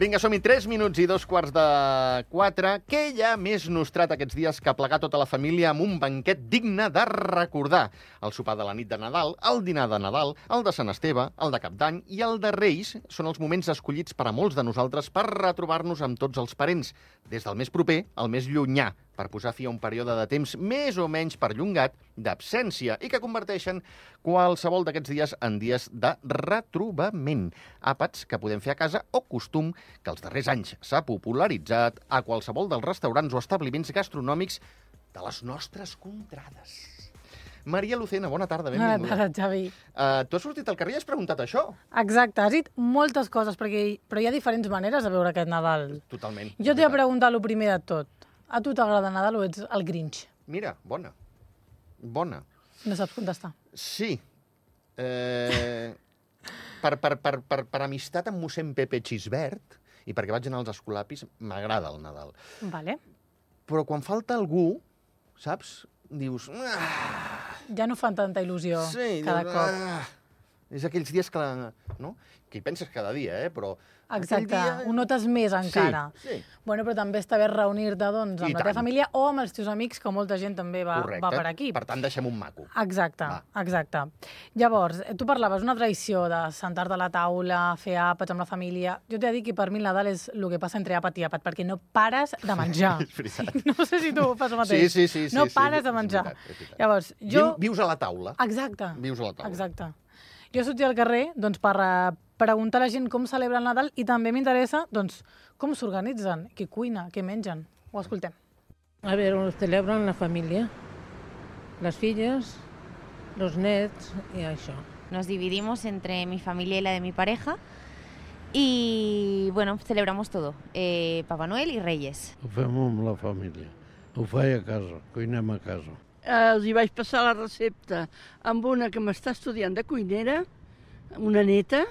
Vinga, som-hi 3 minuts i dos quarts de 4. Què hi ha més nostrat aquests dies que plegar tota la família amb un banquet digne de recordar? El sopar de la nit de Nadal, el dinar de Nadal, el de Sant Esteve, el de Cap d'Any i el de Reis són els moments escollits per a molts de nosaltres per retrobar-nos amb tots els parents, des del més proper al més llunyà, per posar fi a un període de temps més o menys perllongat d'absència i que converteixen qualsevol d'aquests dies en dies de retrobament. Àpats que podem fer a casa o costum que els darrers anys s'ha popularitzat a qualsevol dels restaurants o establiments gastronòmics de les nostres contrades. Maria Lucena, bona tarda, Bona tarda, benvinguda. Xavi. Uh, tu has sortit al carrer i has preguntat això? Exacte, has dit moltes coses, perquè, però hi ha diferents maneres de veure aquest Nadal. Totalment. Jo t'he de preguntar el primer de tot. A tu t'agrada Nadal o ets el Grinch? Mira, bona. Bona. No saps contestar. Sí. Eh, per, per, per, per, per amistat amb mossèn Pepe Xisbert i perquè vaig anar als escolapis, m'agrada el Nadal. Vale. Però quan falta algú, saps? Dius... Ah, Ja no fan tanta il·lusió sí, cada dius, cop. Ah, és aquells dies que... la- No? Que hi penses cada dia, eh? Però... aquell Exacte, dia- ho notes més encara. Sí, sí. Bueno, però també està bé reunir-te doncs, I amb la tant. teva família o amb els teus amics, que molta gent també va, Correcte. va per aquí. Per tant, deixem un maco. Exacte, Va. exacte. Llavors, eh, tu parlaves una tradició de sentar-te a la taula, fer àpats amb la família. Jo t'he de dir que per mi el Nadal és el que passa entre àpat i àpat, perquè no pares de menjar. És veritat. no sé si tu fas Sí, el Ah, mateix. sí, sí. sí no sí, és pares de menjar. veritat, és veritat. Llavors, jo... Viu- Vius a la taula. Exacte. Vius a la taula. Exacte. Jo sortia al carrer doncs, per eh, preguntar a la gent com celebra el Nadal i també m'interessa doncs, com s'organitzen, qui cuina, què mengen. Ho escoltem. A ver, lo celebran la família, les filles, los nets i això. Nos dividimos entre mi familia y la de mi pareja. Y bueno, celebramos todo, eh, Papá Noel y Reyes. Ho fem amb la família. Ho faig a casa, cuinem a casa. eh, els hi vaig passar la recepta amb una que m'està estudiant de cuinera, una neta,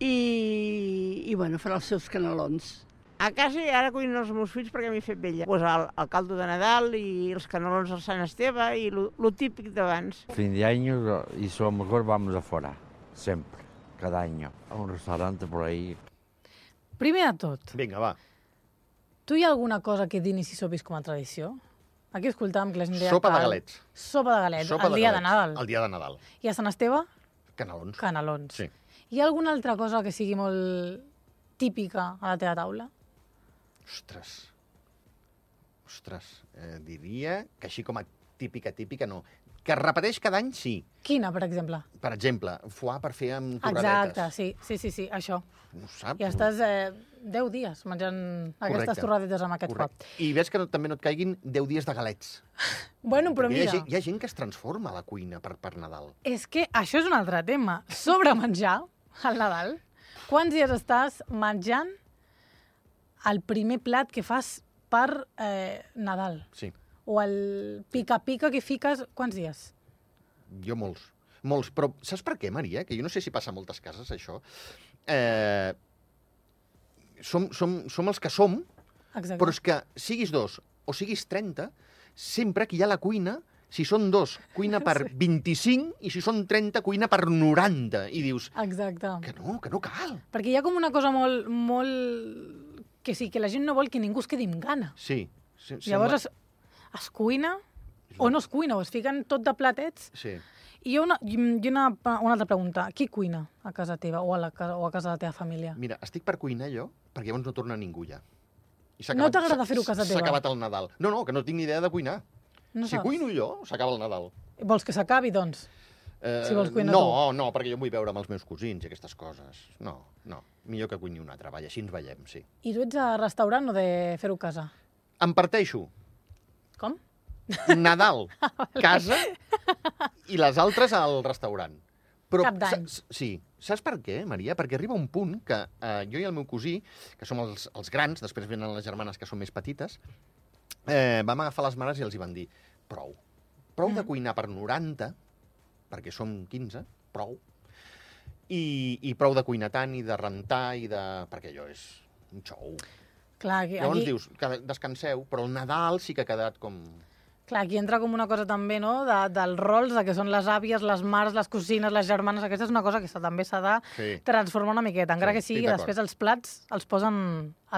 i, i bueno, farà els seus canelons. A casa i ara cuinen els meus fills perquè m'he fet vella. Pues el, el caldo de Nadal i els canelons al Sant Esteve i lo, lo típic d'abans. Fin de año y si lo mejor vamos afuera, siempre, cada año, a un restaurante por ahí. Primer de tot, Vinga, va. tu hi ha alguna cosa que d'inici s'ho vist com a tradició? Aquí escoltàvem que la gent deia... Sopa que de el- galets. Sopa de galets, Sopa Eh, el dia de galets. Nadal. El dia de Nadal. I a Sant Esteve, Canelons. canelons. Sí. Hi ha alguna altra cosa que sigui molt típica a la teva taula? Ostres. Ostres. Eh, diria que així com a típica, típica, no. Que es repeteix cada any, sí. Quina, per exemple? Per exemple, foie per fer amb torradetes. Exacte, sí, sí, sí, sí això. No ho saps? I estàs eh, 10 dies menjant aquestes torradetes amb aquest Correcte. Correcte. I ves que no, també no et caiguin 10 dies de galets. cop. Bueno, però Perquè hi, mira, ha, gent- hi ha gent que es transforma a la cuina per, per Nadal. és que això és un altre tema. Sobre menjar, al Nadal, quants dies estàs menjant el primer plat que fas per eh, Nadal? Sí, O el pica-pica que fiques, quants dies? jo molts. Molts. Però saps per què, Maria? Que jo no sé si passa a moltes cases, això. Eh, som, som, som els que som, Exacte. Però és que siguis dos o siguis 30, sempre que hi ha la cuina, si són dos, cuina per 25, i si són 30, cuina per 90. I dius, Exacte. que no, que no cal. Perquè hi ha com una cosa molt, molt... que sí, que la gent no vol que ningú es quedi amb gana. Sí. sí Sí, Llavors es, es cuina, o no es cuina, o es fiquen tot de platets. Sí. I hi ha una, i hi ha una, una altra pregunta. Qui cuina a casa teva o a, la, casa- o a casa de la teva família? Mira, estic per cuinar jo, perquè llavors no torna ningú ja. I s'ha No acabat- t'agrada s'ha- fer-ho a casa S'ha teva? acabat el Nadal. No, no, que no tinc ni idea de cuinar. No si saps? cuino jo, s'acaba el Nadal. Vols que s'acabi, doncs? Eh, Si vols cuinar no, no, perquè jo em vull veure amb els meus cosins i aquestes coses. No, no. Millor que cuini un altre, vaja, així ens veiem, sí. I tu ets a restaurant o de fer-ho a casa? Em parteixo Com? Nadal, Ah, casa i les altres al restaurant. Però, Cap d'Any. sa- s- Sí. Saps per què, Maria? Perquè arriba un punt que eh, jo i el meu cosí, que som els, els grans, després venen les germanes que són més petites, eh, vam agafar les mares i els hi van dir prou. Prou Mm. de cuinar per 90, perquè som 15, prou. I, i prou de cuinar tant i de rentar i de... perquè allò és un xou. Clar, aquí, Llavors aquí dius, que descanseu, però el Nadal sí que ha quedat com... Clar, aquí entra com una cosa també, no?, de, dels rols, de que són les àvies, les mares, les cosines, les germanes, aquesta és una cosa que s'ha- també s'ha de Sí. transformar una miqueta, encara Sí, que sigui estic que d'acord. després els plats els posen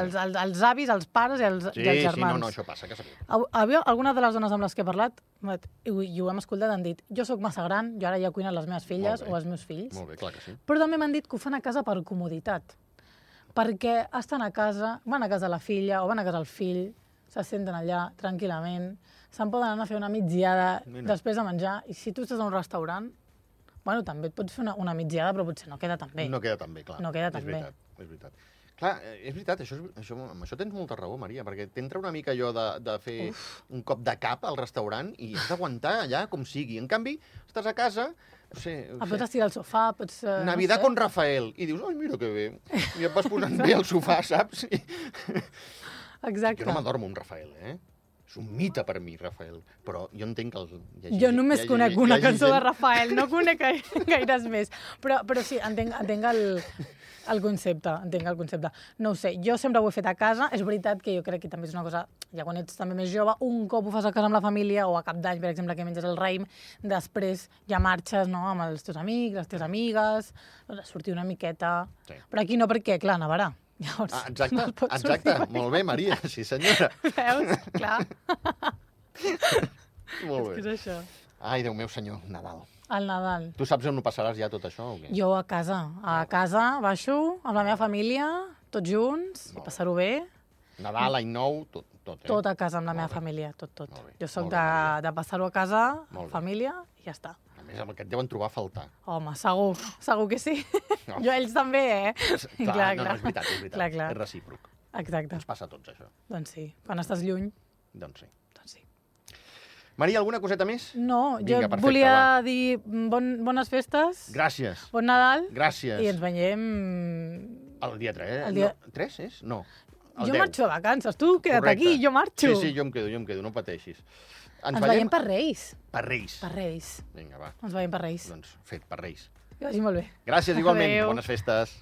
els, els, els avis, els pares i els, Sí, i els sí, no, germans. no, això passa, que segur. Au- Avui, alguna de les dones amb les que he parlat, m'ha dit- i ho, i ho hem escoltat, han dit jo sóc massa gran, jo ara ja cuino les meves filles Molt bé. o els meus fills, Molt bé, clar que sí. però també m'han dit que ho fan a casa per comoditat, perquè estan a casa, van a casa la filla o van a casa el fill, se senten allà tranquil·lament, se'n poden anar a fer una mitjada Mira. després de menjar, i si tu estàs a un restaurant, bueno, també et pots fer una, una mitjada, però potser no queda tan bé. No queda tan bé, clar. No queda tan és bé. veritat, bé. És veritat. Clar, eh, és veritat, això, és- això, amb això tens molta raó, Maria, perquè t'entra una mica allò de, de fer Uf. un cop de cap al restaurant i has d'aguantar allà com sigui. En canvi, estàs a casa, no sé, Ah, no pots sé estirar el sofà, pots... eh, Navidad no sé. con Rafael, i dius, ai, mira que bé, i et vas posant bé al sofà, saps? I... Exacte. Jo no m'adormo amb Rafael, eh? És un mite per mi, Rafael, però jo entenc que... El... hi hagi- Jo hi només hagi- hi conec una hagi cançó de gent- Rafael, no conec gai- gaires més. Però, però sí, entenc, entenc el, el concepte, entenc el concepte. No ho sé, jo sempre ho he fet a casa, és veritat que jo crec que també és una cosa, ja quan ets també més jove, un cop ho fas a casa amb la família o a cap d'any, per exemple, que menges el raïm, després ja marxes no, amb els teus amics, les teves amigues, doncs, a sortir una miqueta... Sí. Però aquí no, perquè, clar, nevarà. Llavors, Ah, exacte, no et pots exacte. sortir. Molt bé, Maria, sí senyora. Veus? Clar, Molt és que és bé. això. Ai, Déu meu senyor, Nadal. El Nadal. Tu saps on ho passaràs ja tot això o què? Jo a casa. A casa baixo amb la meva família, tots junts, i Molt bé. passar-ho bé. Nadal, any nou, tot, tot, eh? Tot a casa amb la Molt meva bé. família, tot, tot. Molt bé, Jo sóc molt bé, de, Maria. de passar-ho a casa, Molt bé. família, i ja està. A més, amb el que et deuen trobar a faltar. Home, segur, segur que sí. No. Jo a ells també, eh? clar, no, no, és veritat, és veritat. Clar, clar. És recíproc. Exacte. Ens passa a tots, això. Doncs sí, quan estàs lluny, Doncs sí. doncs sí. Maria, alguna coseta més? No, Vinga, jo perfecte, volia va. dir mm, bon, bones festes, Gràcies. bon Nadal, Gràcies. i ens veiem... El dia 3, eh? El dia- No, 3 és? No. El Jo 10. marxo de vacances, tu queda't Correcte. aquí, jo marxo. Sí, sí, jo em quedo, jo em quedo, no pateixis. Ens, veiem per Reis, per Reis. per Reis. Vinga, va. Ens veiem per Reis. Doncs fet, per Reis. Que vagi molt bé. Gràcies igualment. Adéu. Bones festes.